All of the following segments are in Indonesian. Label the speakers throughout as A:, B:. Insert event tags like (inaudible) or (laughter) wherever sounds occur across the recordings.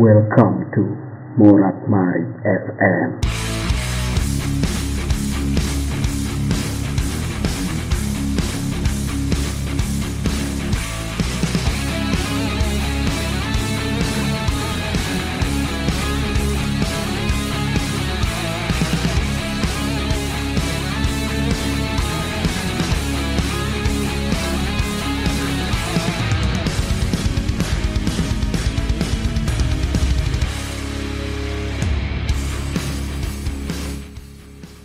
A: Welcome to Murad Marid FM.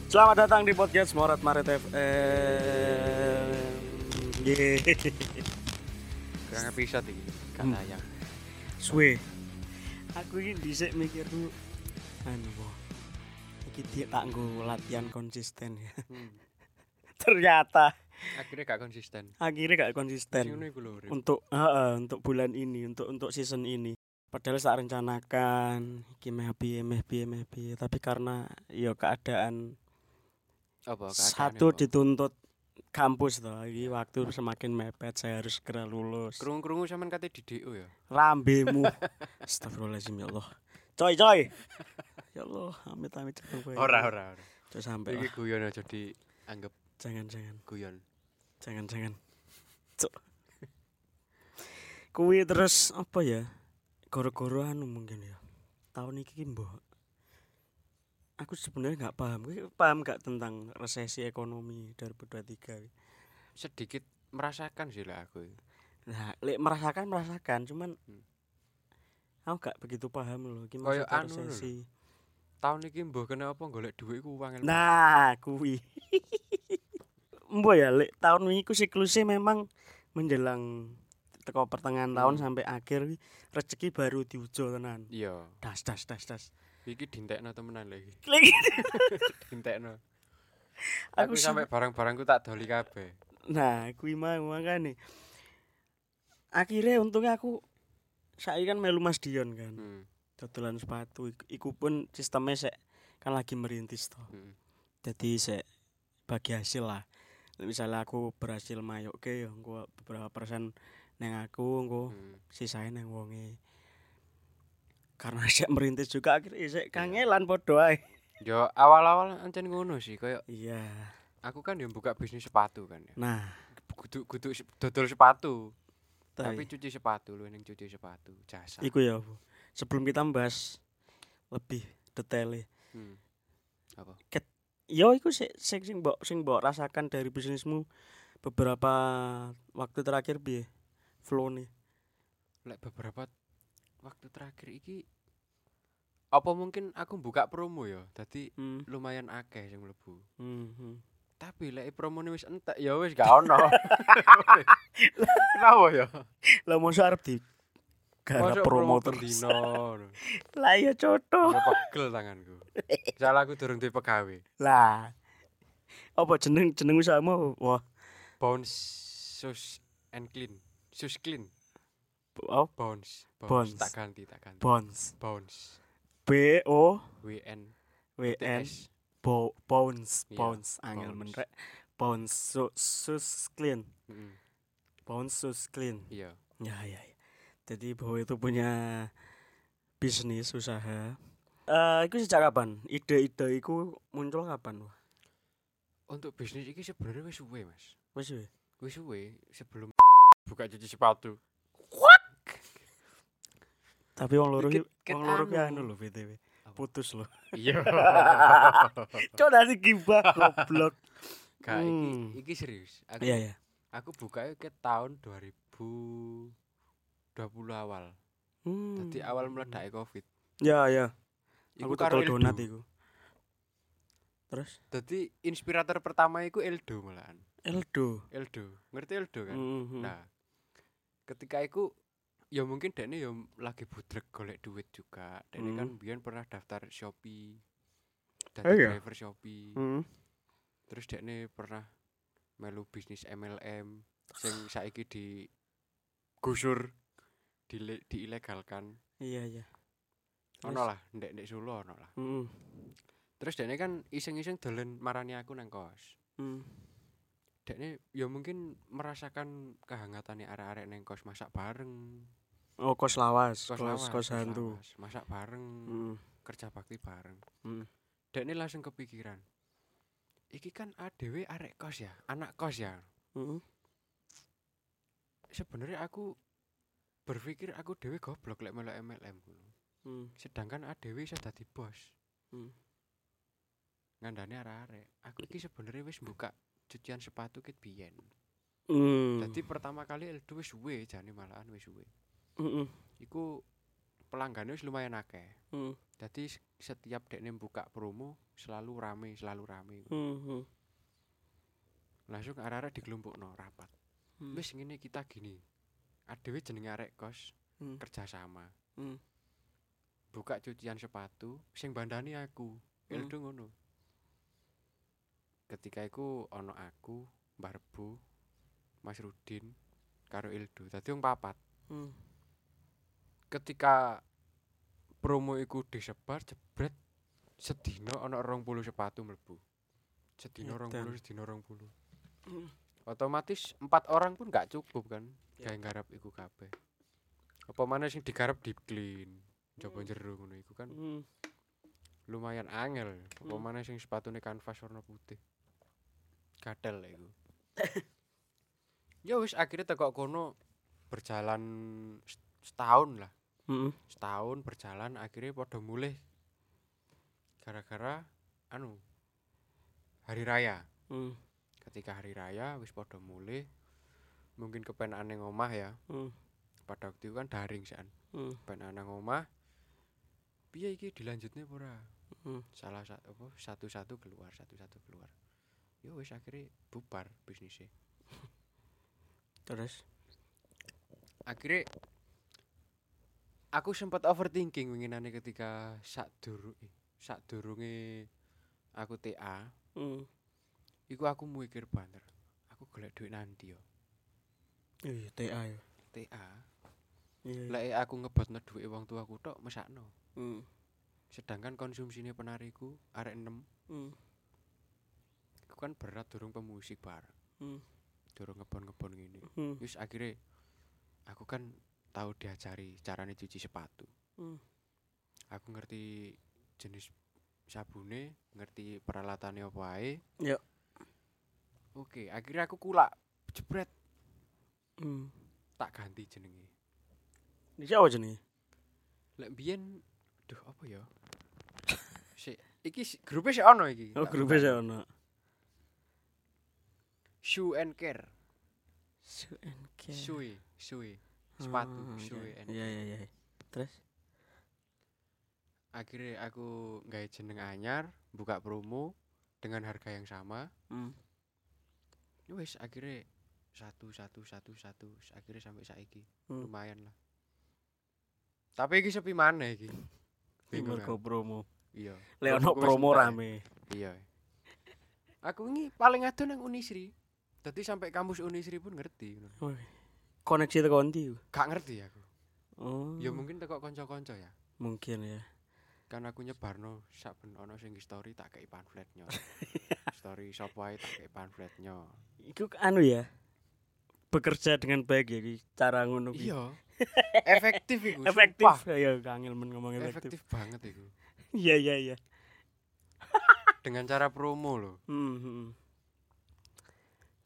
B: Selamat datang di podcast Morat Maret FM. Yeay.
C: Kurang episode iki. Gak
B: Hmm.
C: tayang.
B: Suwe. Aku ini dhisik mikir dulu. Anu po. Iki dia tak nggo latihan konsisten ya. (laughs) Ternyata
C: Akhirnya gak konsisten.
B: akhirnya gak
C: Ngono
B: konsisten.
C: iku lho, Rip.
B: Untuk heeh, untuk bulan ini, untuk untuk season ini. Padahal tak rencanakan iki meh piye meh piye meh piye, tapi karena ya keadaan
C: Apa keadaannya
B: satu
C: apa?
B: dituntut kampus toh iki waktu semakin mepet saya harus segera lulus
C: kerung-kerungu sampean kate di DO ya. (laughs)
B: rambemu astagfirullahaladzim ya Allah coy coy ya Allah amit amit cepet kowe
C: ora ora.
B: coy sampai
C: Iki
B: lah.
C: guyon aja dianggap
B: jangan jangan
C: guyon.
B: jangan jangan cok (laughs) kuwi terus apa ya goro-goro anu mungkin ya tahun iki ki mbok aku sebenarnya nggak paham Kowe paham nggak tentang resesi ekonomi 2023 iki?
C: Sedikit merasakan sih lah aku.
B: Nah, lek merasakan merasakan, cuman
C: Hmm.
B: aku gak begitu paham loh
C: Kayak
B: gimana
C: anu lho. Tahun iki mbah kenapa golek duit ku wangel.
B: Nah, kuwi. (laughs) Mbok ya lek tahun ini ku siklusnya memang menjelang teko pertengahan
C: Hmm.
B: tahun sampai akhir wi, rezeki baru diujo tenan.
C: Iya,
B: Das das das
C: (laughs)
B: das.
C: iki dintekno temenan lagi.
B: Lek
C: Dintekno.
B: aku
C: Aku
B: sam-
C: sampai barang-barangku tak doli kabeh.
B: Nah, kuwi mau makane. Akhirnya untungnya aku saya kan melu Mas Dion kan.
C: Hmm.
B: dodolan sepatu iku- iku pun sistemnya sek kan lagi merintis toh
C: Hmm.
B: jadi sek bagi hasil lah misalnya aku berhasil mayok ke gua beberapa persen neng aku gua
C: hmm.
B: sisain neng wonge karena (laughs) sek merintis juga akhirnya sek kangelan podo ae
C: Yo awal-awal ancen ngono sih, kayak
B: iya
C: aku kan yang buka bisnis sepatu kan ya.
B: nah
C: Kudu kudu se- dodol sepatu.
B: tapi
C: Tapi cuci sepatu lu yang cuci sepatu jasa.
B: iku ya Bu. sebelum kita bahas lebih detail
C: Hmm. Apa?
B: yo iku sik sing sing mbok sing mbok rasakan dari bisnismu beberapa waktu terakhir piye flow nih
C: Lek beberapa waktu terakhir iki apa mungkin aku buka promo ya. Dadi
B: hmm.
C: lumayan akeh sing mlebu.
B: hmm, hmm.
C: Tapi lek promone wis entek ya wis gak ono. Kenapa ya?
B: lah mosok arep di gara
C: Mosok
B: promo
C: ben
B: terus
C: dino. ngono.
B: lah ya coto
C: Ya pegel tanganku. Salah aku durung duwe pegawe.
B: lah apa jeneng jeneng usahamu wah
C: Bounce sus and clean. Sus clean.
B: oh,
C: Bounce.
B: Bounce.
C: Bounce. Tak ganti, tak ganti.
B: bounce
C: Bounce.
B: b o
C: W N
B: w
C: T
B: n
C: S.
B: bo bounce
C: Iya,
B: bounce angel
C: bounce.
B: menrek bounce so, sus clean
C: Mm-mm.
B: bounce sus clean
C: Iya.
B: Ya, ya, ya. Jadi bahwa itu punya bisnis usaha. Eh, itu sejak kapan? Ide-ide itu muncul kapan? Wah,
C: Untuk bisnis ini sebenarnya wis suwe, Mas.
B: wis weh.
C: Wis suwe sebelum (laughs) buka cuci sepatu.
B: Tapi wong loro
C: Dikit-
B: ki-
C: dikit
B: wong loro ki anu
C: anu.
B: lho BTW.
C: Apa?
B: Putus
C: (laughs)
B: lho.
C: Iya.
B: Cok dari gibah goblok.
C: Kak, iki,
B: Hmm.
C: iki serius. Aku,
B: (laughs) Iya, ya.
C: aku buka ke tahun 2020 awal.
B: Hmm.
C: Tadi awal meledak e Covid.
B: Ya, ya.
C: Iku
B: Aku
C: karo
B: total donat
C: Eldo.
B: iku. Terus
C: Dadi inspirator pertama iku Eldo malahan.
B: Eldo.
C: Eldo. Ngerti Eldo kan?
B: Hmm.
C: Nah, ketika iku ya mungkin Dene ya lagi budrek golek duit juga. Dene kan
B: Hmm.
C: biyen pernah daftar Shopee. Dadi
B: Oh iya?
C: driver Shopee.
B: Hmm.
C: terus dekne pernah melu bisnis MLM sing saiki di gusur di diilegalkan
B: Iya, iya.
C: ono lah ndek ndek Solo ono lah
B: Hmm.
C: terus dekne kan iseng-iseng dolen marani aku nang kos
B: Hmm.
C: dekne ya mungkin merasakan kehangatannya arek-arek nang kos masak bareng
B: Oh, kos lawas, kos
C: Kos lawas,
B: kos, hantu.
C: lawas. Masak bareng,
B: Mm,
C: kerja bakti bareng.
B: mm.
C: Dan ini langsung kepikiran. Iki kan ADW arek kos ya, anak kos ya.
B: Mm.
C: Sebenarnya aku berpikir aku dewe goblok lek melok MLM ngono.
B: Mm.
C: Sedangkan ADW iso dadi bos.
B: Hmm.
C: Ngandane arek-arek. Aku iki sebenarnya wis buka cucian sepatu ket biyen.
B: Mm.
C: Dadi pertama kali L2 wis suwe jane malahan wis suwe.
B: Mm-mm.
C: Iku pelanggannya wis lumayan akeh.
B: Mm.
C: Dadi s- setiap dekne buka promo selalu rame, selalu rame.
B: Mm.
C: Langsung arek-arek dikelompokno rapat.
B: Mm.
C: Wis ngene kita gini. Adewe jeneng arek kos
B: Mm.
C: kerjasama.
B: Mm.
C: Buka cucian sepatu sing bandani aku.
B: Mm.
C: Eldo ngono. Ketika iku ono aku, Mbah Rebo, Mas Rudin, karo Ildo. Dadi wong papat.
B: Mm.
C: Ketika promo iku disebar jebret sedina ono 20 sepatu mlebu. Sedina
B: Edan.
C: 20, sedina 20.
B: Mm.
C: Otomatis empat orang pun gak cukup kan.
B: Ya.
C: Kayak garap iku kabeh. Apa mana sing digarap deep clean.
B: Hmm.
C: Coba jero ngono iku kan
B: Mm.
C: lumayan angel apa
B: Hmm.
C: mana sing sepatune kanvas warna putih gatel lah
B: (laughs)
C: iku ya wis akhirnya tekok kono berjalan s- setahun lah
B: Mm.
C: setahun berjalan akhirnya podo mulih gara-gara anu hari raya
B: Mm.
C: ketika hari raya wis podo mulih mungkin kepenaan yang omah ya
B: Mm.
C: pada waktu itu kan daring sih
B: Mm.
C: kepenaan yang omah piye iki dilanjutnya apa ora
B: Mm.
C: salah satu apa satu-satu keluar satu-satu keluar yo wis akhirnya bubar bisnisnya
B: Terus.
C: akhirnya aku sempat overthinking winginane ketika sak duru eh, sak durunge aku TA
B: Mm.
C: Hmm. iku aku mikir banter aku golek duit nanti yo
B: Iya, TA ya.
C: TA
B: Iya.
C: lek eh, aku ngebotno duit wong tuaku tok mesakno
B: Mm.
C: sedangkan konsumsinya penariku arek 6
B: Mm.
C: iku kan berat durung pemusik bar
B: Hmm.
C: durung ngebon-ngebon ngene
B: Mm.
C: Terus akhirnya aku kan tahu diajari caranya cuci sepatu.
B: Hmm.
C: Aku ngerti jenis sabune, ngerti peralatannya apa ae.
B: Yo.
C: Oke, akhirnya aku kulak jebret
B: Mm.
C: tak ganti jenenge.
B: Iki apa jenenge?
C: Lek biyen duh apa ya? (coughs) Sik, iki si- grupnya sik ono iki.
B: Oh,
C: Tak
B: grupe
C: buka.
B: sih ono.
C: Shoe and Care.
B: Shoe and care.
C: Shoe, shoe.
B: Ah,
C: Sepatu,
B: oke.
C: shoe and
B: Iya, iya, iya. Terus?
C: Akhirnya aku nggawe jeneng anyar, buka promo dengan harga yang sama.
B: Mm.
C: Ya wis akhirnya satu satu satu satu s- akhirnya sampai saiki
B: Hmm.
C: lumayan lah tapi iki sepi mana iki Bingung
B: Mergo
C: kan?
B: promo.
C: iya
B: Lek ono
C: Aku wis
B: promo
C: entek.
B: rame.
C: iya aku ini paling adoh nang Unisri jadi sampai kampus Unisri pun ngerti ngono.
B: Wih. Koneksi teko ndi?
C: gak ngerti aku
B: Oh.
C: ya mungkin teko konco-konco ya
B: mungkin ya.
C: kan aku nyebarno saben ono sing story tak
B: (laughs)
C: kei pamfletnya story sapa ae tak kei pamfletnya
B: Iku anu ya. Bekerja dengan baik ya iki cara ngono ki. (laughs)
C: iya efektif iku sumpah.
B: Efektif. Ya kangen men ngomong efektif. (laughs)
C: efektif banget iku
B: Iya, iya, iya.
C: dengan cara promo loh
B: Hmm, hmm.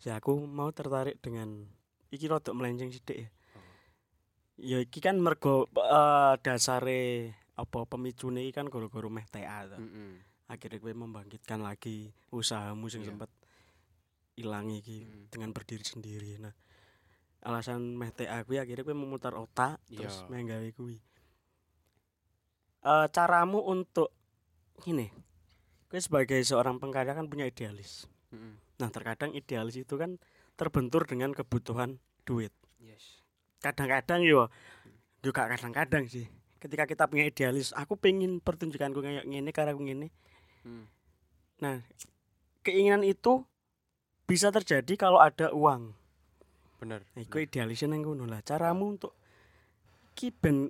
B: Ya aku mau tertarik dengan iki rodok melenceng sithik ya.
C: Oh.
B: Ya iki kan mergo eh, dasare apa pemicune iki kan gara-gara meh TA to.
C: Heeh.
B: Akhirnya kowe membangkitkan lagi usahamu sing
C: Iya.
B: sempat ilang iki
C: Mm.
B: dengan berdiri sendiri. Nah, alasan meh TA kuwi akhirnya kowe memutar otak terus
C: Iya.
B: meh gawe kuwi. Eh, caramu untuk ini kowe sebagai seorang pengkarya kan punya idealis.
C: Heeh.
B: Nah, terkadang idealis itu kan terbentur dengan kebutuhan duit.
C: Yes.
B: Kadang-kadang yo juga kadang-kadang sih. Ketika kita punya idealis, aku pengen pertunjukanku kayak ngene karena aku ngene.
C: Hmm.
B: Nah, keinginan itu bisa terjadi kalau ada uang.
C: Bener.
B: Nah, iku idealisnya nang ngono lah. Caramu untuk ki ben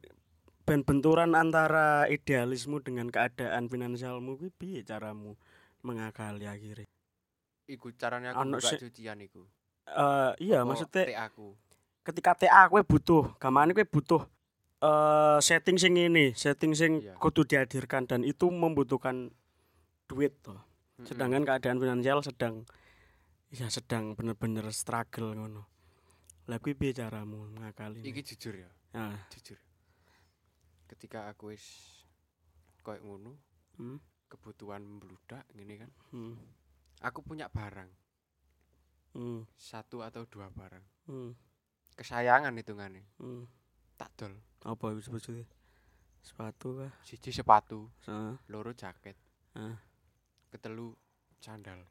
B: ben benturan antara idealismu dengan keadaan finansialmu kuwi piye caramu mengakali akhirnya?
C: Iku caranya aku
B: Ano
C: buka
B: sih-
C: cucian iku.
B: Eh iya,
C: Apa
B: maksudnya
C: tea aku.
B: ketika TA kowe butuh, gamane kowe butuh eh setting sing ini, setting sing
C: Iya.
B: kudu dihadirkan dan itu membutuhkan duit toh.
C: Mm-mm.
B: Sedangkan keadaan finansial sedang ya sedang bener-bener struggle ngono. Lah kuwi piye caramu ngakali?
C: iki jujur ya,
B: Nah,
C: jujur. Ketika aku wis koyo ngono,
B: hmm,
C: kebutuhan membludak gini kan.
B: hmm,
C: Aku punya barang,
B: hmm,
C: satu atau dua barang.
B: hmm,
C: Kesayangan hitungannya,
B: hmm.
C: tak dol.
B: Apa itu sebetulnya? Sepatu kah?
C: Siji sepatu,
B: Heeh.
C: loro jaket,
B: Heeh.
C: ketelu candal.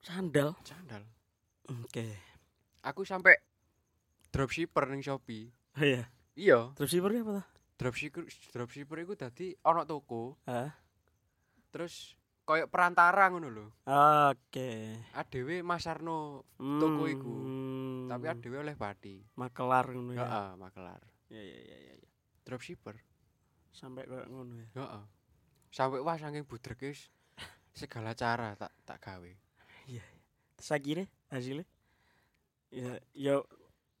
B: Sandal.
C: Candal.
B: Oke.
C: Aku sampai dropshipper ning Shopee.
B: Oh iya.
C: Iya,
B: Terus sibernya apa toh?
C: dropshipper dropshipper iku dadi ana toko,
B: Hah?
C: terus koyo perantara ngono lho.
B: Oke. Hmm,
C: Adewe masarno, Toko
B: Toko
C: iku.
B: Hmm.
C: tapi adewe oleh pati.
B: makelar ngono ya.
C: Heeh, makelar.
B: Iya iya iya iya, iya.
C: Dropshipper.
B: Sampai kayak ngono ya.
C: Heeh. Sampai wah saking budrek wis segala cara tak tak gawe.
B: Terus akhirnya hasilnya ya ya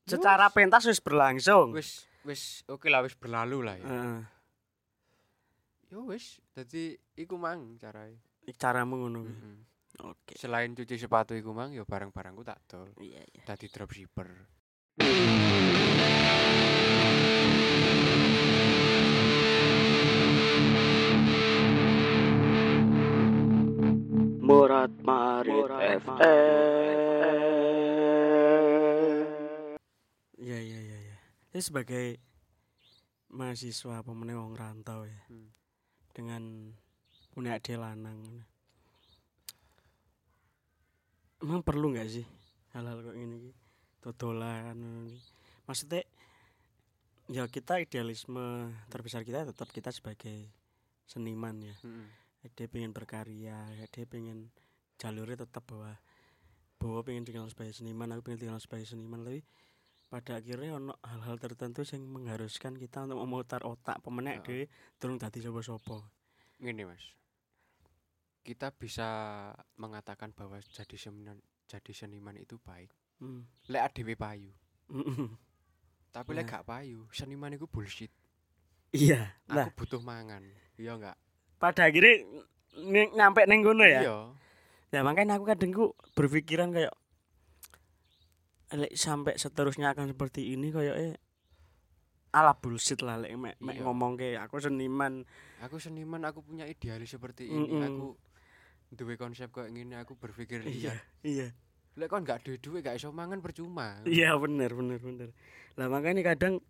B: secara pentas wis berlangsung.
C: Wis wis oke lah wis berlalu lah ya.
B: Heeh.
C: Yo wis, dadi iku mang carae.
B: Iki caramu ngono. kuwi.
C: Mm-mm.
B: Oke.
C: Selain cuci sepatu iku mang yo barang-barangku tak dol.
B: Iya iya.
C: Dadi dropshipper.
B: Morat Marit Iya iya iya iya. Ini sebagai mahasiswa pemenang wong rantau ya.
C: Hmm.
B: Dengan punya adik lanang. Emang perlu nggak sih hal-hal kayak gini? ki? Dodolan. ngono ki. Maksudnya ya kita idealisme terbesar kita tetap kita sebagai seniman ya.
C: Heeh.
B: dia pengen berkarya dia pengen jalurnya tetap bahwa bahwa pengen dikenal sebagai seniman aku pengen dikenal sebagai seniman tapi pada akhirnya ono hal-hal tertentu yang mengharuskan kita untuk memutar otak pemenek
C: Heeh.
B: dhewe durung dadi sapa-sapa
C: Gini mas, kita bisa mengatakan bahwa jadi seniman jadi seniman itu baik. (laughs)
B: Hmm.
C: Lek adewe payu, tapi
B: Nah.
C: lek gak payu, seniman itu bullshit.
B: iya
C: Aku
B: nah
C: butuh mangan, iya enggak?
B: pada akhirnya ny- nyampe neng kono ya
C: Iya.
B: ya makanya aku kadang ku berpikiran kayak lek sampai seterusnya akan seperti ini kayak eh ala bullshit lah lek mek mek
C: Iya.
B: ngomong kayak aku seniman
C: Aku seniman, aku punya idealis seperti ini,
B: Mm-mm.
C: aku duwe konsep kayak gini, aku berpikir
B: Iya,
C: liar.
B: iya,
C: Lek kon gak duwe duit gak iso mangan percuma.
B: iya bener bener bener. Lah makanya kadang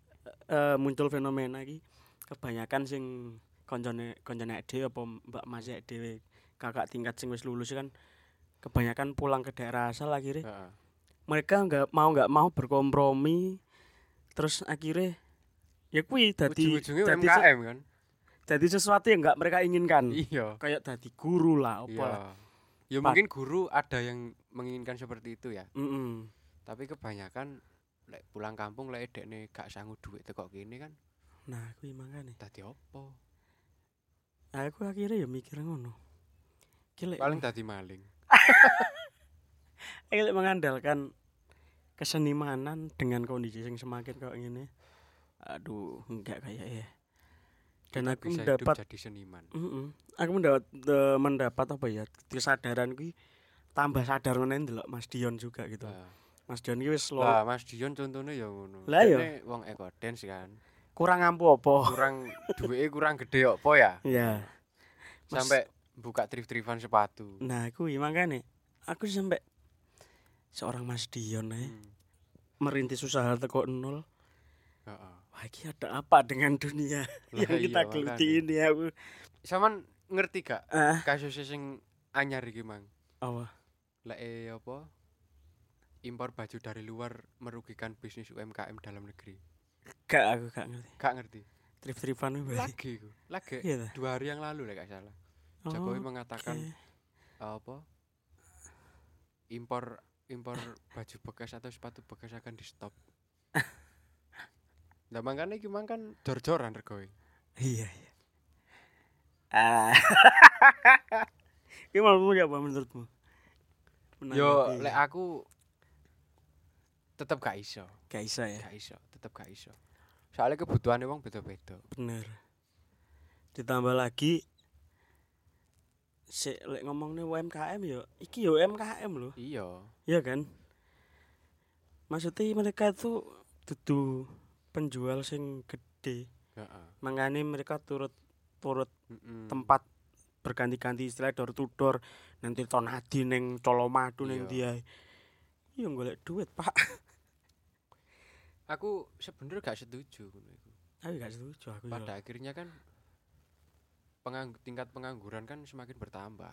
B: eh, muncul fenomena iki kebanyakan sing koncone koncone dhewe apa mbak mas dhewe kakak tingkat sing wis lulus kan kebanyakan pulang ke daerah asal akhirnya
C: Heeh.
B: mereka nggak mau nggak mau berkompromi terus akhirnya ya kuwi dadi
C: Ujung-ujungnya
B: dadi se-
C: UMKM kan?
B: dadi sesuatu yang nggak mereka inginkan
C: Iya.
B: kayak dadi guru lah apa lah
C: Iya. Ya
B: Pak.
C: mungkin guru ada yang menginginkan seperti itu ya.
B: Mm-mm.
C: tapi kebanyakan lek pulang kampung lek dekne gak sanggup duit teko kene kan
B: nah kuwi makanya
C: dadi opo
B: aku akhirnya ya mikir ngono Ki lek-
C: paling dadi maling
B: Elek mengandalkan kesenimanan dengan kondisi yang semakin kayak gini. Aduh, enggak kayak ya. Dan aku
C: bisa
B: mendapat,
C: hidup jadi seniman
B: Mm-mm. aku mendapat eh, mendapat apa ya kesadaran kui tambah sadar ngene ndelok Mas Dion juga gitu.
C: Nah,
B: Mas Dion ki wis lo-
C: lah Mas Dion contohnya ya ngono
B: Lah ya.
C: Dekne wong eco dance kan
B: kurang ampuh apa. (laughs)
C: kurang (laughs) duitnya kurang gede opo ya
B: Ya. Mas-
C: sampai buka trif-trifan sepatu
B: Nah, kuwi makanya aku sampai seorang Mas Dion ae
C: Hmm.
B: merintis usaha teko nol.
C: Heeh.
B: Wah, iki ada apa dengan dunia (laughs)
C: Lah
B: yang kita
C: iya,
B: geluti
C: makanya.
B: ini aku.
C: Saman ngerti gak
B: Ah,
C: kasusnya sing anyar iki mang
B: apa?
C: lek e apa impor baju dari luar merugikan bisnis UMKM dalam negeri
B: Gak aku gak ngerti.
C: gak ngerti
B: Trip-tripan itu berarti.
C: lagi iku. lagi
B: Iya Oh, ta?
C: dua hari yang lalu lah gak salah Jokowi mengatakan apa impor impor baju bekas atau sepatu bekas akan di stop nah makanya iki mang kan jor-joran regoe
B: Iya, iya. Ah. (laughs) Ini menurutmu ya apa menurutmu?
C: yo
B: Menanggapi
C: lek aku tetep gak iso
B: gak bisa ya. Eh.
C: gak iso tetep gak iso Soalnya kebutuhane wong beda-beda.
B: bener ditambah lagi sik lek ngomongnya UMKM ya iki ya UMKM loh
C: Iya.
B: Iya kan? Maksudnya mereka itu dudu penjual sing gede.
C: Heeh.
B: Makanya mereka turut turut
C: Mm-mm.
B: tempat berganti-ganti istilah door to door nanti tonadi neng colomadu neng dia iya golek duit pak (laughs)
C: Aku sebenernya gak setuju ngono iku.
B: tapi gak setuju aku ya.
C: Pada akhirnya kan pengangg- tingkat pengangguran kan semakin bertambah.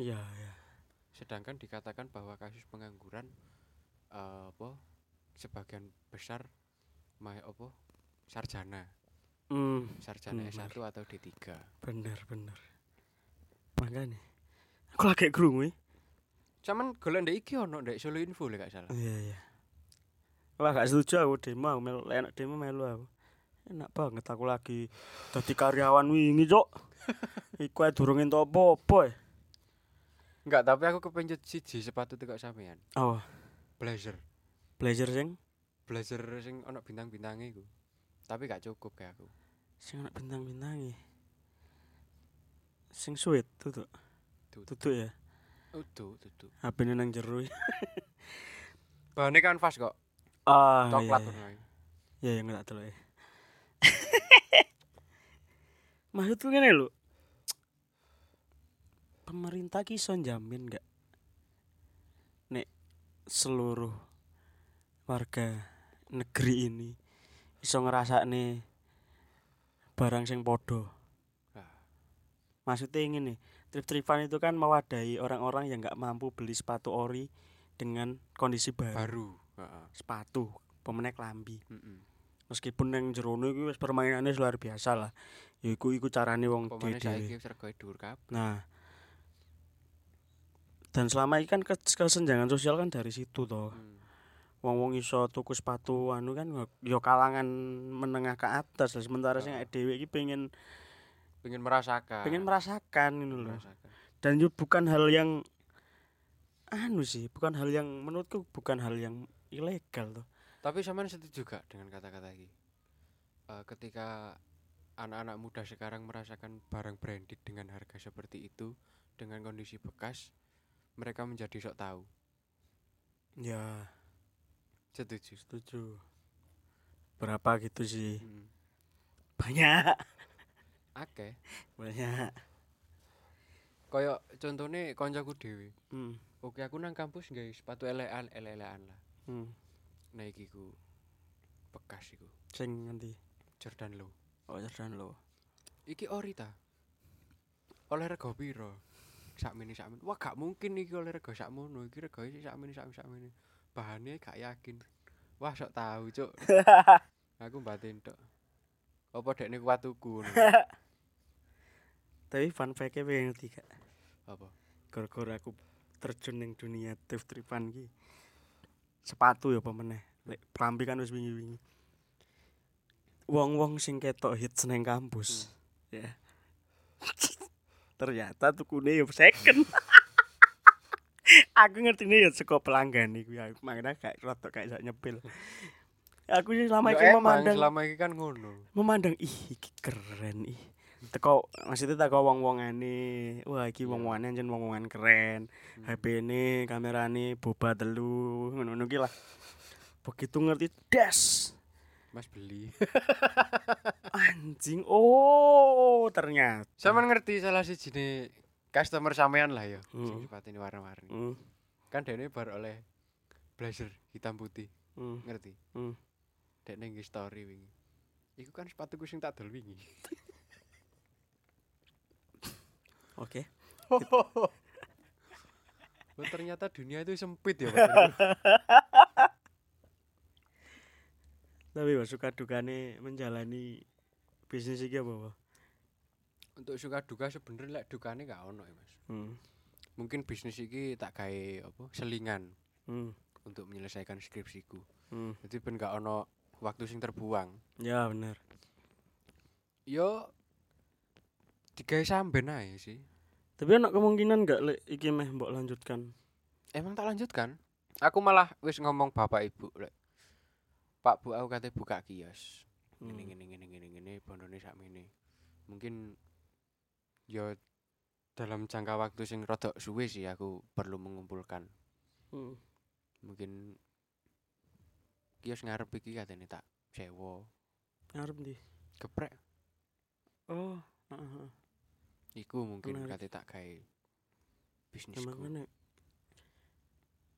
B: iya iya
C: sedangkan dikatakan bahwa kasus pengangguran eh, apa sebagian besar ma apa sarjana
B: hmm,
C: sarjana
B: Benar.
C: S1 atau D3
B: bener bener makanya aku lagi eh. kerungu
C: cuman golek ndek iki ono ndek Solo Info lek gak (laughs) salah
B: Iya iya. Wah gak setuju aku demo aku melu enak demo melu aku. Enak banget aku lagi dadi karyawan wingi cok. Iku ae durung entuk apa-apa. eh.
C: enggak tapi aku kepencut siji sepatu tekok sampean
B: Oh,
C: blazer
B: blazer sing
C: blazer sing ono bintang-bintangnya iku tapi gak cukup kayak aku
B: sing enak bintang-bintangi. e. Sing sweet tutuk.
C: Tutuk.
B: Tutuk ya.
C: utuh tutu
B: HP-ne nang jero. e. iki.
C: bahannya kanvas kok
B: Ah, iya,
C: coklat
B: iya.
C: ngono ae.
B: Ya yang tak delok. (laughs) ya. Maksudku ngene lho. Pemerintah ki iso jamin gak nek seluruh warga negeri ini iso ngerasakne barang sing padha.
C: Ah.
B: Maksudnya ngene, trip-tripan itu kan mewadahi orang-orang yang nggak mampu beli sepatu ori dengan kondisi baru.
C: baru heeh
B: Sepatu, pemenek lambi.
C: heeh
B: meskipun yang jerono iku wis permainannya wis luar biasa lah ya iku iku carane wong
C: pemane
B: dhewe
C: saiki sergoe dhuwur kabeh
B: nah dan selama ini kan kes- kesenjangan sosial kan dari situ toh
C: Hmm.
B: wong-wong iso tuku sepatu anu kan ya- ya kalangan menengah ke atas lah sementara sing
C: Heeh.
B: awake dhewe iki pengen
C: pengen merasakan
B: pengen merasakan gitu loh
C: merasakan
B: dan itu bukan hal yang anu sih bukan hal yang menurutku bukan hal yang ilegal toh
C: Tapi sampean setuju gak dengan kata-kata ini? Eh, ketika anak-anak muda sekarang merasakan barang branded dengan harga seperti itu, dengan kondisi bekas, mereka menjadi sok tahu.
B: ya
C: Setuju.
B: setuju berapa gitu sih
C: Mm.
B: banyak (laughs)
C: Oke.
B: banyak
C: Koyo contohnya koncoku dhewe.
B: Hmm.
C: Oke, aku nang kampus nggawe sepatu elean, elean lah.
B: Hmm.
C: Nah iki ku bekas iku.
B: Sing ngendi?
C: Jordan Low.
B: Oh, Jordan lo.
C: Iki ori ta? Oleh rego piro? Sakmene sakmene. Wah, gak mungkin iki oleh rego sakmono. Iki regoe sik sakmene sakmene sakmene. Bahane gak yakin. Wah, sok tahu, Cuk. Aku batin tok. Apa dekne kuat tuku ngono?
B: Tapi fun fact-e pengen ngerti gak?
C: Apa?
B: Gara-gara aku terjun ning dunia thrift tripan ki. Sepatu ya apa meneh. Lek prampi kan wis wingi-wingi. Wong-wong sing ketok hits neng kampus. Ya. (laughs) Ternyata tukune ya second. (laughs) aku ngertine ya saka pelanggan iku ya. Makanya gak rada gak iso nyepil. Aku sih selama
C: Yo,
B: iki
C: emang
B: memandang
C: selama iki kan ngono.
B: memandang ih iki keren ih teko maksudnya teko wong-wongane wah iki wong-wongane anjen wong-wongan keren HP ini kamerane boba telu ngono-ngono ki lah begitu ngerti das
C: Mas beli.
B: anjing oh ternyata
C: (laughs) Sampeyan ngerti salah sijine customer sampean lah ya.
B: Hmm.
C: Sing sepatine warna-warni.
B: Hmm,
C: Kan dekne bar oleh blazer hitam putih.
B: hmm,
C: ngerti
B: Hmm.
C: dek neng story wingi iku kan sepatuku sing tak dol wingi
B: oke
C: oh, ternyata dunia itu sempit ya Pak.
B: tapi wah suka dukane menjalani bisnis iki apa Pak?
C: untuk suka duka sebenernya lek dukane gak ono ya mas
B: hmm.
C: mungkin bisnis iki tak gawe apa selingan
B: hmm.
C: untuk menyelesaikan skripsiku
B: hmm.
C: jadi ben gak ono waktu sing terbuang
B: ya bener
C: yo digawe samben ae sih
B: tapi ana kemungkinan gak lek iki meh mbok lanjutkan
C: emang tak lanjutkan aku malah wis ngomong bapak ibu lek pak bu aku kate buka kios
B: Hmm.
C: ngene ngene ngene ngene ngene bondone sakmene. Mungkin ya dalam jangka waktu sing rodok suwe sih aku perlu mengumpulkan.
B: Hmm.
C: Mungkin kios ngarep iki katene tak sewa
B: Ngarep hmm. ndi?
C: geprek
B: Oh, heeh.
C: iku mungkin
B: Menarik.
C: kate tak gawe
B: Emang
C: bisnisku.
B: ngene.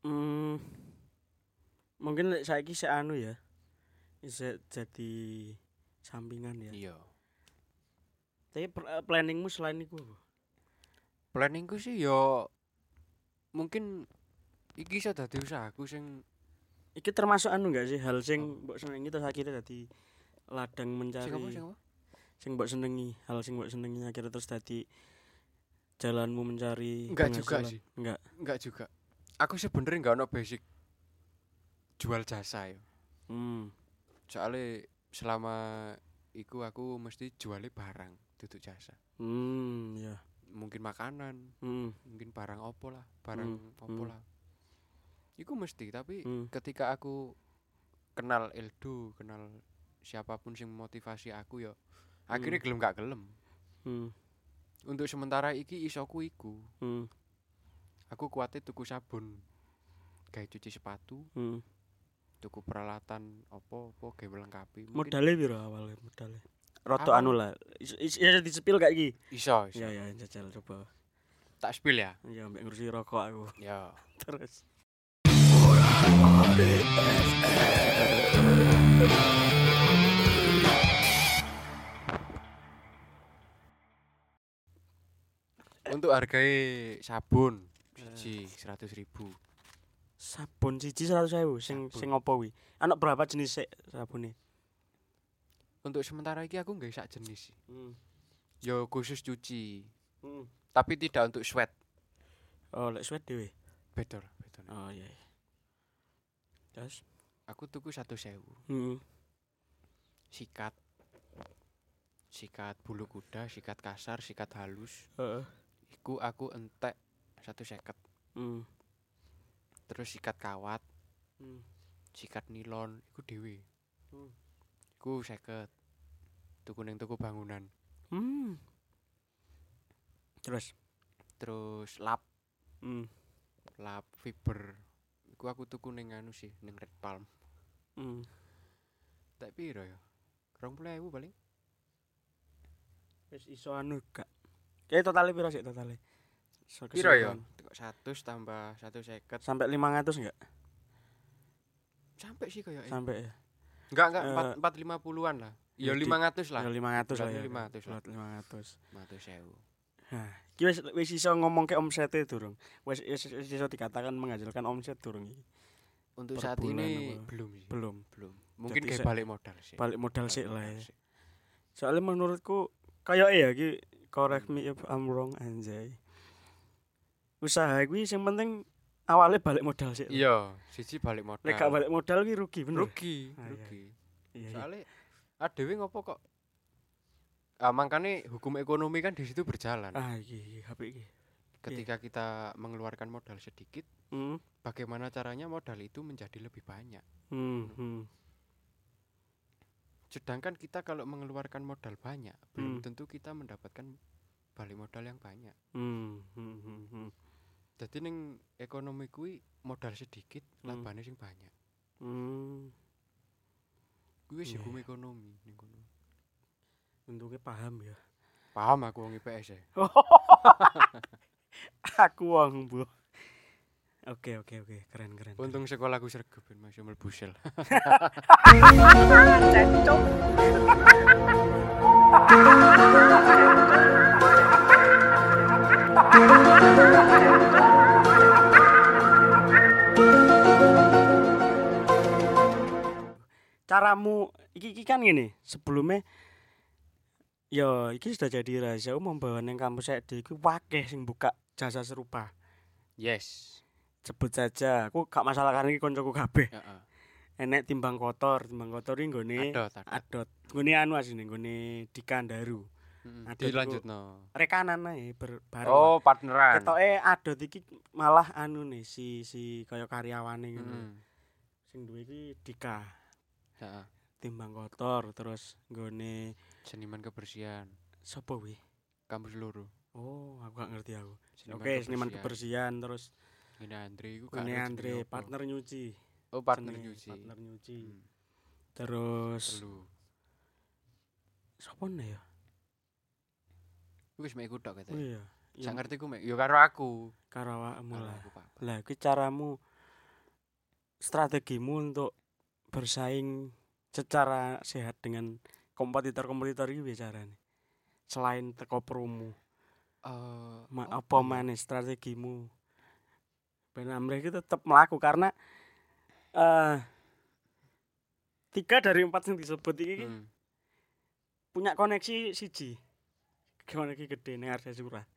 B: Hmm. Mungkin lek saiki sik anu ya. Isih jadi sampingan ya.
C: Iya.
B: Tapi pl- eh, planningmu selain iku apa?
C: planningku sih yo mungkin iki iso dadi usahaku sing
B: Iki termasuk anu enggak sih hal sing mbok senengi terus akhirnya dadi ladang mencari
C: sing apa sing apa?
B: sing mbok senengi, hal sing mbok senengi akhirnya terus dadi jalanmu mencari
C: Enggak juga
B: penghasilan.
C: sih.
B: Enggak.
C: Enggak juga. Aku sebenarnya enggak ono basic jual jasa yo.
B: Hmm.
C: Soale selama iku aku mesti jualnya barang, duduk jasa.
B: Hmm, ya.
C: Mungkin makanan,
B: Hmm.
C: mungkin barang opo lah, barang opo
B: hmm.
C: lah. Iku mesti, tapi
B: Hmm.
C: ketika aku kenal Eldo, kenal siapapun sing motivasi aku yo. Akhirnya gelem gak gelem.
B: Hmm.
C: Untuk sementara iki isoku iku.
B: Hmm.
C: Aku kuatnya tuku sabun. Kayak cuci sepatu,
B: hmm.
C: tuku peralatan opo-opo kayak melengkapi. Mungkin
B: Modalnya piro awalnya modalnya? Roto
C: Awal-
B: anu lah. Is- is- Ya disepil kayak iki.
C: iso, iso.
B: Ya ya jajal coba.
C: Tak spill ya.
B: Ya mbek ngurusi rokok aku (laughs)
C: Ya.
B: terus.
C: Untuk harga e sabun siji 100.000 ribu
B: Sabun siji 100.000 sing
C: Sabun.
B: sing opo kuwi? Ana berapa jenis sik sabune?
C: Untuk sementara iki aku nggak sak jenis sih.
B: Hmm.
C: Yo khusus cuci, tapi tidak untuk sweat.
B: Oh, lek sweat dhewe.
C: Beda lah, beda lah.
B: Oh iya. iya. Terus?
C: Aku tuku satu sewu.
B: Hmm.
C: Sikat, sikat bulu kuda, sikat kasar, sikat halus.
B: Heeh.
C: Iku aku entek satu seket.
B: Hmm.
C: Terus sikat kawat,
B: Hmm.
C: sikat nilon iku dhewe.
B: Hmm.
C: Iku 50. Tuku ning tuku bangunan.
B: Hmm. Terus.
C: Terus lap,
B: Hmm.
C: lap fiber. Iku aku tuku ning anu sih, ning Red Palm.
B: Hmm.
C: Tak piro ya? 20.000 paling.
B: Wis iso anu gak? Kayak totale piro sik totale? So- keseluruhan.
C: Tekok 100 tambah 150.
B: Sampai 500 enggak?
C: Sampai sih kayak
B: Sampai ya.
C: Enggak enggak
B: eh,
C: 4 450-an lah. Ya
B: Jadi-
C: 500 lah.
B: Ya 500 lah
C: Bulatnya
B: ya.
C: 500 lah.
B: Bulat 500.
C: 500.000.
B: Ki wis wis iso ngomong ke omsete durung. Wis wis wis iso dikatakan menghasilkan omset durung iki.
C: Untuk
B: Per
C: saat
B: bulan
C: ini
B: apa?
C: belum sih.
B: Belum.
C: Belum. Mungkin
B: Jadi
C: kayak
B: se-
C: balik modal sih.
B: Balik modal sik lah.
C: modal
B: ya.
C: sih.
B: Soalnya menurutku kayak ya ki correct me if I'm wrong anjay. Usaha kuwi sing penting awalnya balik modal sik. Lek
C: Iya, siji balik modal.
B: gak balik modal ki Ah. rugi bener.
C: rugi,
B: Ah, iya,
C: rugi.
B: Iya, iya.
C: soalnya adewe ngopo kok ah, makanya hukum ekonomi kan di situ berjalan
B: Ah iki iki HP iki.
C: ketika kita mengeluarkan modal sedikit
B: Hmm.
C: bagaimana caranya modal itu menjadi lebih banyak
B: Hmm. hmm.
C: sedangkan kita kalau mengeluarkan modal banyak belum
B: Hmm.
C: tentu kita mendapatkan balik modal yang banyak
B: Hmm. hmm, hmm, hmm.
C: jadi ning ekonomi kui modal sedikit
B: Hmm.
C: labane sing banyak
B: Hmm.
C: kui wis
B: Iya,
C: hukum ekonomi ning kono
B: Untungnya paham ya.
C: paham aku wong IPS ya
B: (laughs) Aku wong, Bu. Oke, oke, oke. Keren, keren. keren.
C: untung sekolahku sregep ben masih (laughs) melbusel
B: caramu iki, iki kan gini sebelumnya ya iki sudah jadi rahasia umum bahwa neng kampus saya di iki wakeh sing buka jasa serupa
C: yes
B: sebut saja aku gak masalah karena iki koncoku kabeh
C: Heeh.
B: enek timbang kotor timbang kotor ini nggone
C: Adot, adot.
B: adot nggone anu asine nggone dikandaru
C: Mm,
B: adot iku-
C: dilanjutno
B: rekanan ae ber bareng
C: Oh, partneran.
B: ketoke adot iki malah anu nih si si kaya karyawane ngono
C: Mm.
B: sing duwe iki Dika
C: Heeh.
B: timbang kotor terus nggone
C: Seniman kebersihan
B: sapa kuwi?
C: kampus loro.
B: Oh, aku gak ngerti aku. Oke, seniman kebersihan terus
C: Ini Andre iku gak
B: Ini
C: ngerti
B: Andre
C: jenenge apa.
B: partner nyuci.
C: Oh, partner
B: Jenenge,
C: nyuci.
B: Partner nyuci.
C: Hmm,
B: Terus
C: Telu.
B: sapa ne ya?
C: Iku wis mek iku
B: Oh
C: tok katanya.
B: iya.
C: Sak
B: yang
C: ngerti ku mek yo karo aku.
B: Karo awakmu
C: Karo
B: lah.
C: aku, Pak.
B: Lah iki caramu strategimu untuk bersaing secara sehat dengan kompetitor-kompetitor iki piye carane? Selain teko promo,
C: Eh,
B: ma
C: apa
B: apa
C: ya?
B: maneh strategimu? Ben amrih iki tetep mlaku karena eh tiga dari empat yang disebut iki
C: Hmm.
B: punya koneksi siji. Koneksi gede ning Arsa Surah.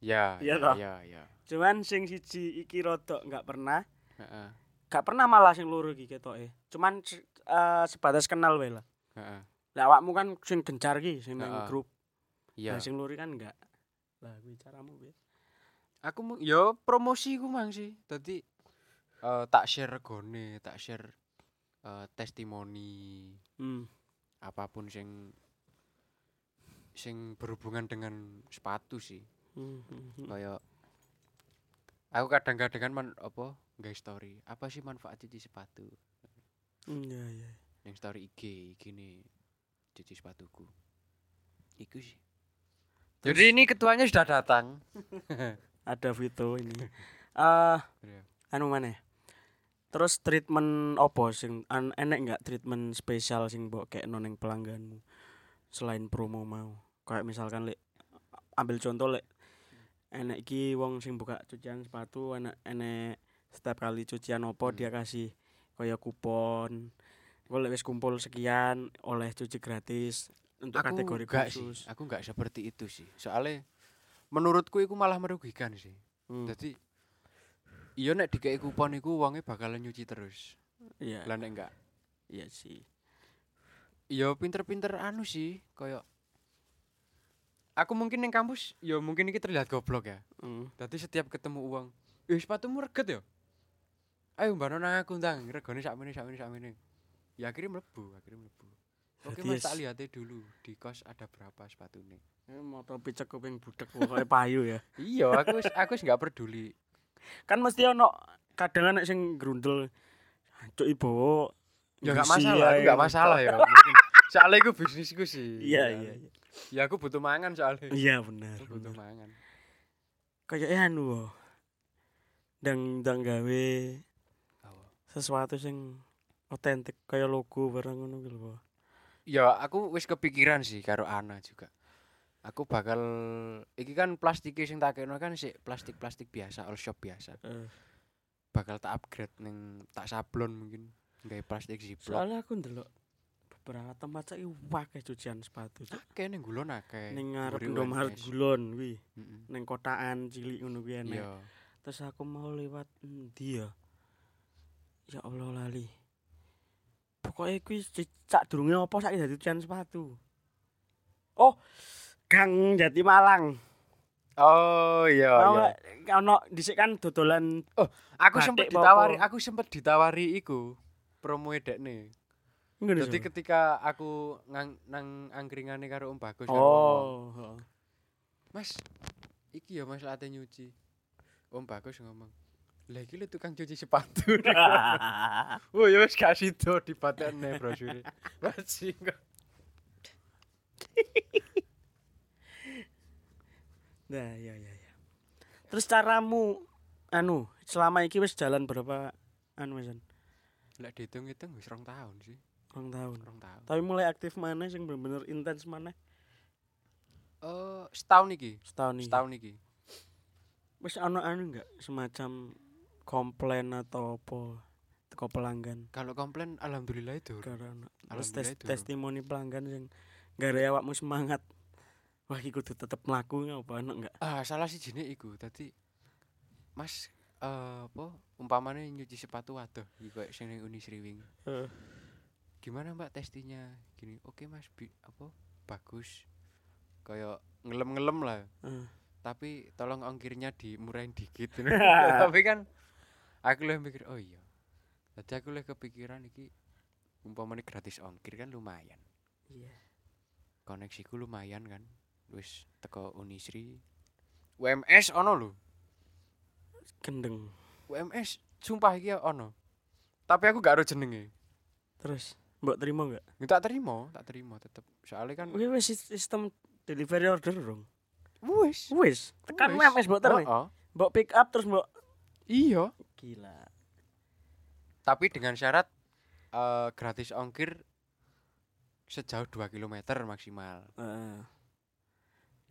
C: Ya,
B: Iya
C: ya,
B: toh?
C: ya, ya.
B: Cuman sing siji iki rodok nggak pernah
C: Heeh,
B: gak pernah malah sing loro iki ketoke. Cuman se- eh, sebatas kenal wae lah.
C: heeh.
B: Lah awakmu kan sing gencar ki sing nang
C: Heeh.
B: grup. Lah
C: Iya.
B: sing loro kan enggak. Lah kuwi caramu piye?
C: Aku mung yo promosi ku mang sih. Dadi eh, tak share regone, tak share eh, testimoni
B: Hmm.
C: apapun sing sing berhubungan dengan sepatu sih.
B: Hmm, hmm, hmm.
C: Kaya aku kadang-kadang kan man, apa nggak story. Apa sih manfaat cuci sepatu?
B: Hmm, Ya ya.
C: Yang story IG, IG nih cuci sepatuku. Iku sih. Jadi ini ketuanya sudah datang.
B: Ada Vito ini. Eh
C: Iya.
B: anu mana? ya? Terus treatment opo sing an, enek enggak treatment spesial sing mbok kekno ning pelangganmu selain promo mau. Kayak misalkan lek ambil contoh lek enek iki wong sing buka cucian sepatu enek enek setiap kali cucian opo
C: Hmm.
B: dia kasih kaya kupon. Kalau wis kumpul sekian oleh cuci gratis untuk kategori
C: nggak
B: khusus.
C: sih aku nggak seperti itu sih soalnya menurutku itu malah merugikan sih
B: Hmm,
C: jadi iya nek dikei kupon iku uangnya bakalan nyuci terus
B: Hmm, Iya,
C: lah nek enggak
B: iya sih.
C: iya pinter-pinter anu sih koyo aku mungkin yang kampus ya mungkin ini terlihat goblok ya
B: Hmm.
C: Dadi setiap ketemu uang eh sepatumu reget ya ayo mbak nona aku ndang regone sak mene sak mene sak mene ya akhirnya melebu akhirnya melebu Oke
B: Berarti
C: mas
B: yes.
C: tak lihatnya dulu di kos ada berapa sepatunya
B: Eh, motor picek kuping budek pokoknya payu ya.
C: Iya, aku wis- aku wis nggak peduli.
B: (laughs) Kan mesti ono kadang nek sing grundel cuk ibowo.
C: Ya nggak
B: Gusi
C: masalah, aku
B: ae.
C: nggak masalah
B: (laughs)
C: ya. Mungkin soalnya iku bisnisku sih.
B: Iya iya.
C: soalnya. Ya aku butuh mangan soalnya.
B: Iya bener.
C: Aku butuh mangan.
B: Kayak eh, anu wo. Dang dang gawe
C: Apa?
B: sesuatu sing otentik kaya logo barang ngono kuwi lho. oh. wo.
C: Ya aku wis kepikiran sih karo Ana juga. Aku bakal iki kan plastiknya sing tak kena kan sik plastik-plastik biasa, all shop biasa.
B: Eh,
C: Bakal tak upgrade ning tak sablon mungkin. Nggak plastik ziplock.
B: soalnya aku ndelok beberapa tempat saiki akeh cucian sepatu. Cuk.
C: Akeh ning gulon akeh.
B: Ning ngarep
C: Mburi
B: Indomaret
C: UNS.
B: Gulon kuwi,
C: Mm-mm.
B: ning kotaan cilik ngono kuwi enek.
C: Iya.
B: terus aku mau lewat endi ya ya Allah lali pokoknya kuwi ci- cak durunge apa saiki dadi cucian sepatu oh Gang Jati Malang
C: Oh iya
B: tau
C: iya.
B: gak ono dhisik kan dodolan
C: Aku sempet
B: Batik apa
C: ditawari,
B: apa?
C: aku sempet ditawari iku promo dekne.
B: ngono
C: Dadi
B: sih.
C: ketika aku ngang, nang angkringane karo Om Bagus karo ngomong,
B: oh heeh.
C: Mas, iki ya Mas late nyuci. Om Bagus ngomong, "Lah iki lho tukang cuci sepatu." (laughs) oh ya wis gak sido dipatene brosure. Wajib kok.
B: (laughs) nah ya ya ya terus caramu anu selama iki wis jalan berapa anu wis
C: Lek diitung-itung wis rong tahun sih,
B: rong tahun
C: rong tahun.
B: tapi mulai aktif mana sing bener-bener intens mana
C: Eh, setahun iki.
B: setahun ini
C: Setahun iki.
B: Wis ana anu enggak semacam komplain atau apa teko pelanggan
C: Kalau komplain alhamdulillah itu.
B: karena terus
C: Alhamdulillah
B: tes-
C: durung.
B: testimoni pelanggan sing gara awakmu semangat wah iki kudu tetep mlaku apa ana enggak
C: Ah, salah sih jine iku. Dadi Mas eh apa umpamane nyuci sepatu waduh iki koyo sing ning Uni Sriwing.
B: Heeh.
C: Gimana Mbak testinya? Gini, oke Mas, bi- apa bagus. Kayak ngelem-ngelem lah.
B: Heeh.
C: Tapi tolong ongkirnya
B: (laughs)
C: dimurahin dikit. Tapi kan aku lebih mikir, oh iya. Tadi aku lebih kepikiran iki umpamane gratis ongkir kan lumayan
B: Iya.
C: koneksiku lumayan kan wis teko Unisri UMS ono lho
B: Gendeng.
C: UMS sumpah iki ono tapi aku gak ero jenenge
B: Terus mbok terima enggak?
C: Ya, tak terima tak terima tetep soalnya kan
B: Kuwi wis sis- sistem delivery order dong.
C: wis
B: Wis, tekan
C: Wis. Oh,
B: wes mbok terima.
C: Heeh.
B: Mbok pick up terus mbok
C: iya
B: gila.
C: tapi dengan syarat eh, gratis ongkir sejauh 2 km maksimal
B: Heeh.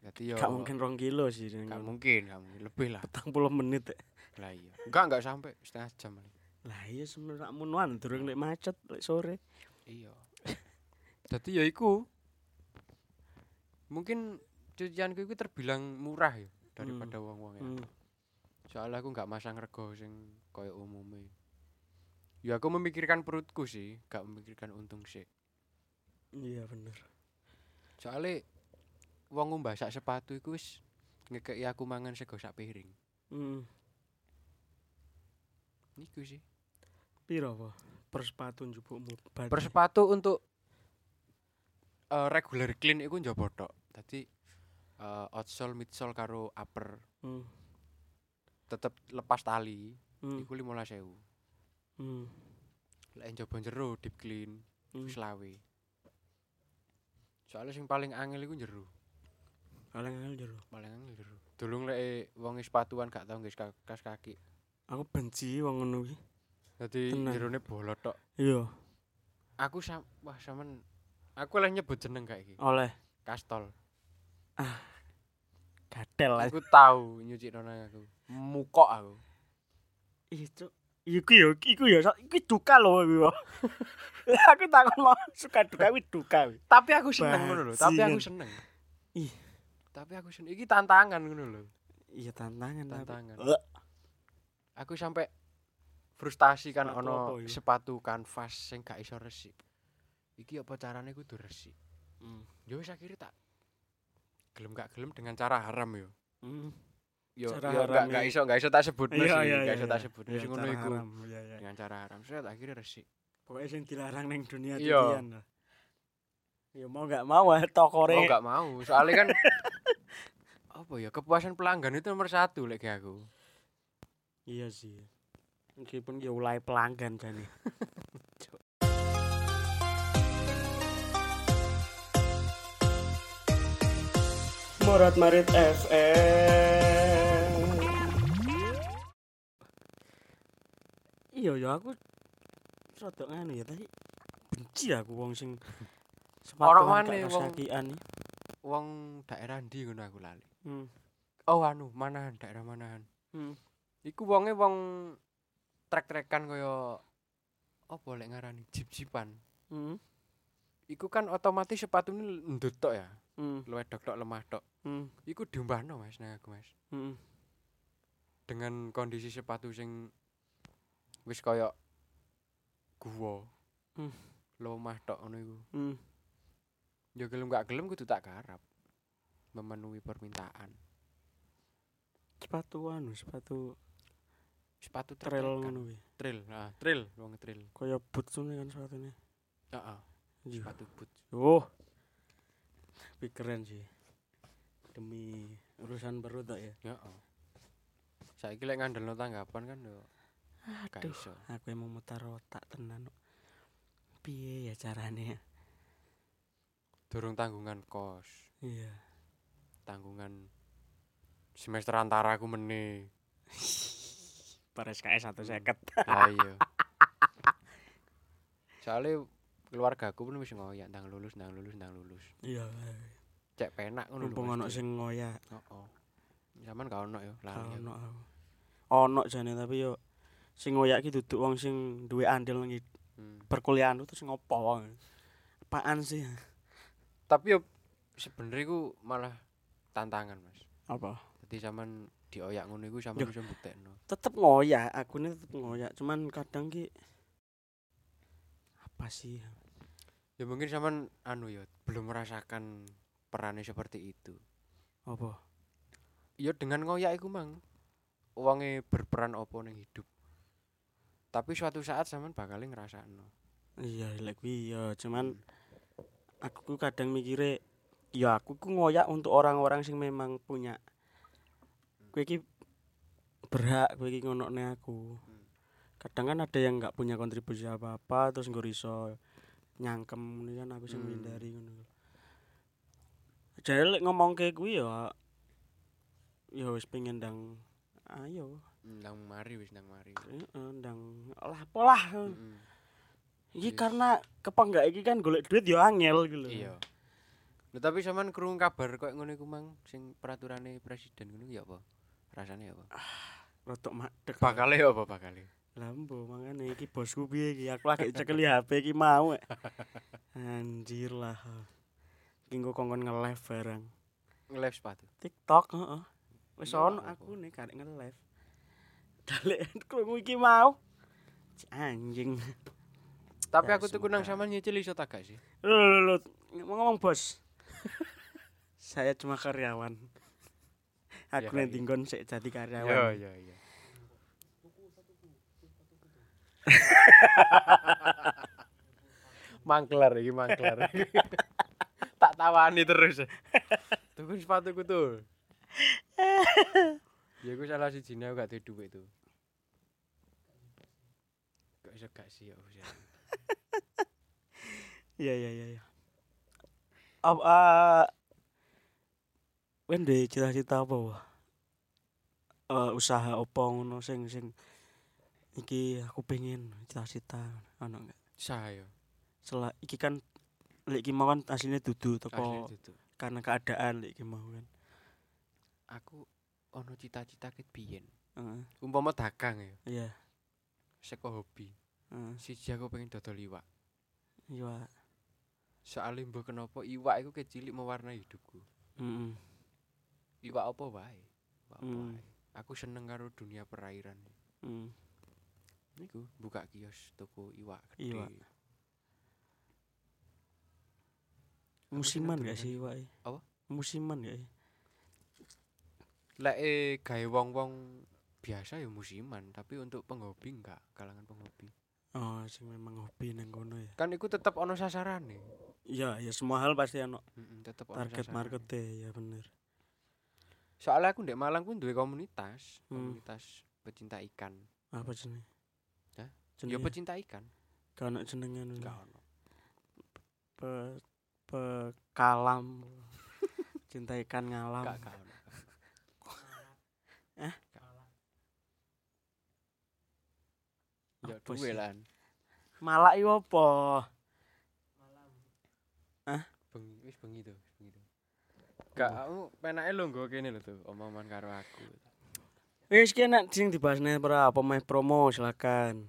C: jadi yo
B: Gak mungkin rong kilo sih
C: gak
B: dengan
C: mungkin gak mungkin lebih lah
B: petang puluh menit. eh.
C: lah iya enggak enggak sampai setengah jam lah.
B: Lah iya sebenarnya munuan durung lek macet lek sore.
C: (laughs) iya jadi ya iku mungkin cucianku itu terbilang murah ya daripada wong-wong ya
B: Hmm.
C: soalnya aku nggak masang rego sing koyo umumnya ya aku memikirkan perutku sih gak memikirkan untung sih
B: Iya bener.
C: soalnya wong ngumbasak sepatu iku wis ngekeki aku mangan sego sak piring
B: Hmm.
C: niku sih
B: Piro apa? Per sepatu njupukmu. Berarti-
C: per sepatu untuk eh, regular clean iku njaba tok dadi eh, outsole midsole karo upper
B: Hmm.
C: tetep lepas tali
B: Hmm.
C: iku 15000
B: Hmm.
C: lek njaba jero deep clean
B: Hmm.
C: selawe soalnya sing paling angel iku jero
B: Kaleng-kaleng jero.
C: paling angel jero dulung lek wong sepatuan gak tau nggih kas kaki
B: Aku benci wong ngono iki.
C: dadi
B: Tenan.
C: jerone bolot tok
B: Iya,
C: aku sam wah sampean aku oleh nyebut jeneng gak iki
B: oleh
C: kastol
B: gadel lah.
C: aku tahu nyuci nang aku mukok aku
B: Iku iku yo iku yo iku duka lho iki. wo. Lah, aku takon mau suka duka kuwi duka kuwi.
C: tapi aku seneng ngono lho tapi
B: Bajingan.
C: aku seneng
B: Ih.
C: tapi aku seneng iki tantangan ngono lho
B: Iya tantangan tapi.
C: Tantangan.
B: Eh,
C: aku sampai frustasi kan
B: Sepatu apa
C: ono
B: iku?
C: sepatu kanvas sing gak iso resik iki apa carane kudu resik
B: Hmm.
C: yo wis akhirnya tak gelem gak gelem dengan cara haram yo
B: Hmm.
C: yo
B: Cara
C: yo gak
B: harame-
C: gak iso gak iso tak sebut sih
B: Iya iya iya.
C: gak iso tak
B: iya.
C: sebut
B: Iya,
C: sing ngono
B: cara
C: iku
B: haram, Iya iya.
C: dengan cara haram saya akhirnya resik
B: Pokoke sing dilarang ning dunia
C: Iya.
B: cucian. lah. Ya mau gak mau ah, tokore.
C: Mau nggak mau, soalnya kan (laughs) apa ya kepuasan pelanggan itu nomor satu lagi aku.
B: Iya sih. Meskipun ya ulai pelanggan jane. Morat Marit FM. Iya ya aku rada nganu ya tadi benci aku wong sing anu
C: Orang
B: sepatuan
C: mana
B: gak
C: wong-
B: kesakian iki.
C: Wong daerah ndi ngono aku lali.
B: ya. Hmm.
C: Oh anu, manahan daerah manahan.
B: Hmm.
C: Iku wonge wong trek-trekan kaya apa lek ngarani jip-jipan.
B: Hmm.
C: Iku kan otomatis sepatu ini ndut tok ya,
B: Hmm.
C: luwedok tok lemah tok.
B: Hmm.
C: Iku diumbahno Mas nang aku Mas.
B: hmm.
C: Dengan kondisi sepatu sing wis kaya guwa.
B: Hmm.
C: Lemah tok ngono iku.
B: Hmm.
C: Ya gelem gak gelem kudu tak garap. Memenuhi permintaan.
B: Sepatu anu, sepatu
C: Sepatu
B: trail
C: trek-trekan.
B: ngono kuwi.
C: Trail, ah, trail, wong trail.
B: Kaya boots ngono kan sepatune.
C: Heeh,
B: Iya.
C: sepatu boot.
B: Oh. Tapi keren sih. Demi urusan perut tak ya.
C: Heeh. Saiki lek ngandelno tanggapan kan yo gak
B: Aduh.
C: iso.
B: Aku emang mutar otak tenan. kok. Piye ya carane? ya?
C: Durung tanggungan kos,
B: Iya. (laughs)
C: tanggungan semester antara aku meneh.
B: Per SKS 150.
C: Lah
B: (laughs)
C: iya. Soale keluarga aku pun wis ngoyak ndang lulus, ndang lulus, ndang lulus.
B: Iya.
C: Cek penak ngono lho.
B: Mumpung ono
C: Mas.
B: sing ngoyak,
C: Heeh. Zaman gak ono yo,
B: gak
C: lali.
B: ono
C: aku.
B: aku. Ono jane tapi yo sing ngoyak ki duduk wong sing duwe andil nang i-
C: Hmm.
B: perkuliahan terus ngopo wong. Apaan sih?
C: Tapi yo sebenarnya ku malah tantangan, Mas.
B: Apa?
C: Dadi sampean dioyak ngono iku sampean
B: Yo.
C: iso mbuktekno.
B: tetep ngoyak aku ini tetep ngoyak cuman kadang ki apa sih
C: Ya mungkin sampean anu ya belum merasakan perannya seperti itu.
B: apa
C: Ya dengan ngoyak iku mang wonge berperan opo ning hidup. Tapi suatu saat sampean bakal ngrasakno.
B: Iya, lek kuwi iya, cuman aku ku kadang mikire ya aku ku ngoyak untuk orang-orang sing memang punya. Kowe iki berhak kowe iki ngonokne aku. Kadang kan ada yang nggak punya kontribusi apa-apa terus nggo iso nyangkem ngono kan aku sing
C: Hmm.
B: ngindari ngono. Jadi lek ngomongke kuwi ya ya wis pengen ndang ayo
C: Nang mari wis nang mari.
B: heeh, ndang lah polah.
C: Mm-mm.
B: Iki
C: Yes.
B: karena kepenggak iki kan golek duit ya angel gitu lho.
C: Iya. Lho tapi sampean krungu kabar koyo ngono iku mang sing peraturane presiden ngono ya apa? Rasane ya apa?
B: Rotok madeg.
C: Bakale ya apa bakale?
B: Lambo mangane iki bosku piye iki? Aku lagi cekeli HP iki mau.
C: (laughs)
B: eh. Anjir lah. Iki engko kongkon nge-live barang.
C: Nge-live sepatu.
B: TikTok heeh. Wis
C: Iya lah,
B: ono
C: apa.
B: aku nih karek nge-live. (laughs) Dalek krungu iki mau. Cik, Anjing.
C: Tapi
B: Ya,
C: aku tuku nang
B: semoga.
C: sampean nyicil iso tak gak sih?
B: Lho lho lho, mau ngomong
C: (laughs)
B: bos. Saya cuma karyawan. Aku
C: Ya,
B: nanti
C: iya.
B: nggon sik jadi karyawan.
C: iya (laughs) iya. mangkler iki mangkler. (laughs) tak tawani terus. (laughs) Tuku sepatuku (laughs) tuh. ya aku salah si Jina gak duwe duit tuh. Gak iso gak sih ya. aku sih.
B: Iya iya iya. iya. Apa uh, duwe cita-cita apa? Wak? Eh, usaha apa ngono sing sing iki aku pengen cita-cita ono enggak?
C: Saya
B: Setelah iki kan lek iki mau kan aslinya dudu
C: asli
B: teko
C: duduk.
B: karena keadaan lek iki mau kan.
C: Aku ono cita-cita ket biyen.
B: Heeh.
C: Umpama dagang ya,
B: Iya.
C: seko hobi.
B: Heeh.
C: Siji aku pengen dodol iwak.
B: Iya. Wak.
C: Soale mbok kenapa iwak iku kecilik mewarnai hidupku.
B: Mm-mm.
C: Iwak apa wae. Iwak apa
B: Hmm.
C: wae. Aku seneng karo dunia perairan.
B: Mm.
C: Niku buka kios toko iwak gede.
B: Iwak.
C: Aku seneng
B: Musiman gak
C: dodolan
B: sih wae?
C: Apa?
B: Musiman e? gak sih?
C: Lek eh, gawe wong-wong biasa ya musiman, tapi untuk penghobi enggak, kalangan penghobi.
B: Oh, sing memang hobi nang kono ya.
C: Kan iku tetep ono sasarane.
B: Iya, ya semua hal pasti ono
C: Heeh, tetep ono
B: target
C: sasarane.
B: marketnya ya bener
C: Soalnya aku ndek Malang ku duwe komunitas,
B: Hmm.
C: komunitas pecinta ikan.
B: apa jenenge
C: Hah?
B: jenenge
C: Ya pecinta ikan,
B: gak ono jenenge ngono.
C: enggak ono.
B: pe, pe kalam (laughs) cinta ikan ngalam
C: Enggak enggak ono.
B: Hah?
C: Gak ono. Ya
B: Apa
C: duwe
B: sih?
C: lan.
B: malak iku apa
C: bengi wis bengi to wis bengi to gak aku penake lho nggo kene lho tuh omongan karo aku
B: wis ki enak sing dibahas nih pra apa meh promo (laughs) silakan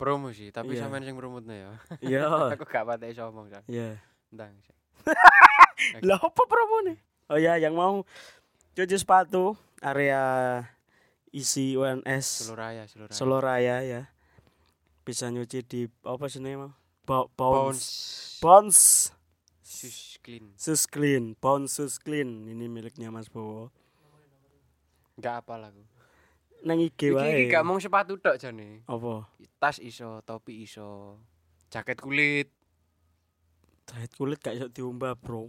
C: promo sih tapi
B: Iya.
C: sampean sing promotne ya
B: iya
C: (laughs) aku gak patek iso omong sak
B: iya
C: ndang sak
B: lah apa promo nih oh ya yang mau cuci sepatu area isi UNS
C: seluraya seluraya
B: Solo Raya ya bisa nyuci di apa sih mau Bo-
C: bounce
B: bounce bounce
C: sus clean
B: Sus Clean, Pound Sus Clean ini miliknya Mas Bowo.
C: gak apal aku
B: Nang IG
C: iki
B: Iya,
C: iki
B: wae.
C: gak mung sepatu tok jane
B: Apa?
C: tas iso topi iso jaket kulit
B: Jahit kulit gak iso diumbah, Bro.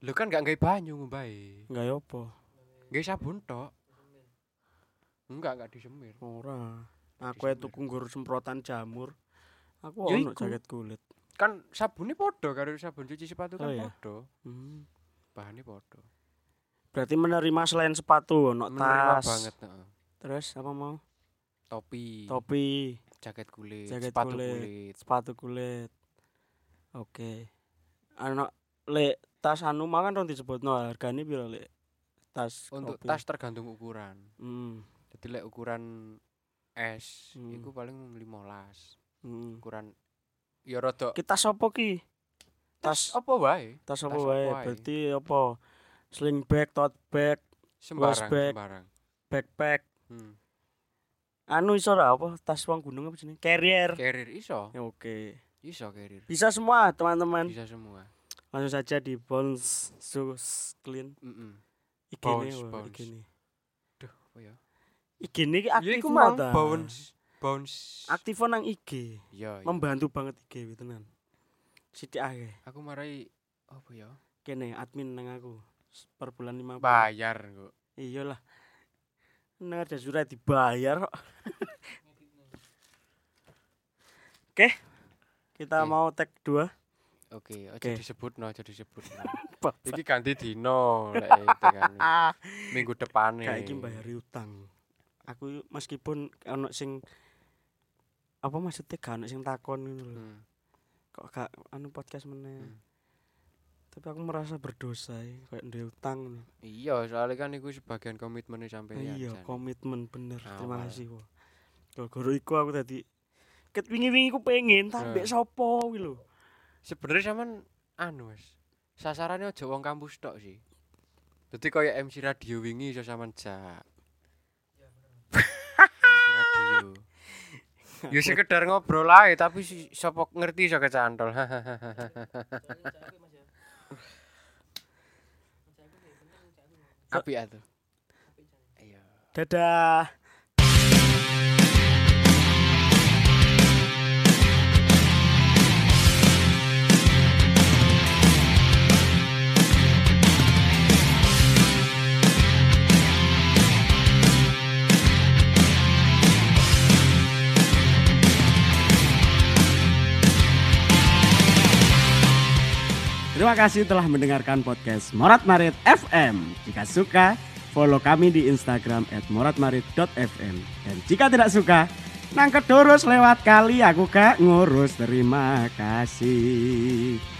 C: lho kan gak nggawe banyu ngombae
B: Enggak ya apa?
C: nggawe sabun tok enggak enggak disemir
B: Ora. Aku ya tuku nggur semprotan jamur. Aku
C: Ya
B: ono
C: iku.
B: jaket kulit.
C: kan sabunnya podo karo sabun cuci sepatu
B: Oh
C: kan
B: iya.
C: podo
B: Hmm.
C: bahannya podo
B: Berarti menerima selain sepatu, ono tas.
C: menerima banget heeh.
B: Terus apa mau?
C: topi
B: Topi,
C: jaket kulit
B: Jaket
C: sepatu
B: kulit.
C: kulit,
B: sepatu kulit. Oke. Ono lek tas anu mau kan rong disebutno hargane piro lek tas
C: untuk
B: kopi?
C: tas tergantung ukuran
B: Hmm.
C: jadi lek ukuran S
B: Hmm.
C: itu paling 15
B: hmm.
C: ukuran ya rada
B: Kita sopo ki? Tas
C: apa wae
B: tas apa
C: tas apa
B: wae?
C: wae.
B: Berarti apa? Sling bag, tote bag,
C: sembarang
B: bag.
C: sembarang
B: backpack.
C: hmm.
B: Anu iso ra apa? Tas wong gunung apa jenenge? Carrier.
C: carrier iso
B: Ya, Oke.
C: iso carrier
B: Bisa semua, teman-teman.
C: bisa semua
B: Langsung saja di Bounce Shoes Clean.
C: mm
B: IG-ne,
C: Bounce,
B: wah,
C: Bounce.
B: IG-ne.
C: apa ya
B: IG-ne ki aktif
C: ya iku
B: mau
C: mang
B: ta?
C: bounce bounce
B: aktif nang IG
C: Iya, iya.
B: membantu banget IG wi, tenan sithik akeh
C: aku marai apa ya
B: kene admin nang aku S- per bulan 50
C: bayar kok
B: iyalah nang ada surat dibayar kok oke kita
C: Oke.
B: mau tag dua
C: oke aja
B: Oke.
C: disebut no aja disebut no
B: Bapak.
C: (laughs) iki ganti dino lek itu kan
B: (laughs) ah
C: minggu depan
B: gak iki mbayari utang aku meskipun ono sing apa maksudnya gak ono sing takon ngono lho
C: hmm.
B: kok gak anu podcast meneh
C: Hmm.
B: tapi aku merasa berdosa ya kayak ndek utang ngono.
C: iya soalnya kan itu sebagian komitmennya sampai
B: Oh iya komitmen bener terima
C: Awal.
B: kasih wo gara-gara iku aku tadi ket wingi-wingi ku pengen tak
C: Eh.
B: mbek sapa kuwi lho
C: sebenarnya cuman anu wis sasarannya aja wong kampus tok sih jadi kayak MC radio wingi iso sampean jak MC radio Ya sekedar ngobrol aja tapi si- sapa ngerti iso kecantol. Api atuh. Iya.
B: dadah Terima kasih telah mendengarkan podcast Morat Marit FM. Jika suka, follow kami di Instagram @moratmarit.fm. Dan jika tidak suka, nang kedurus lewat kali aku gak ngurus. Terima kasih.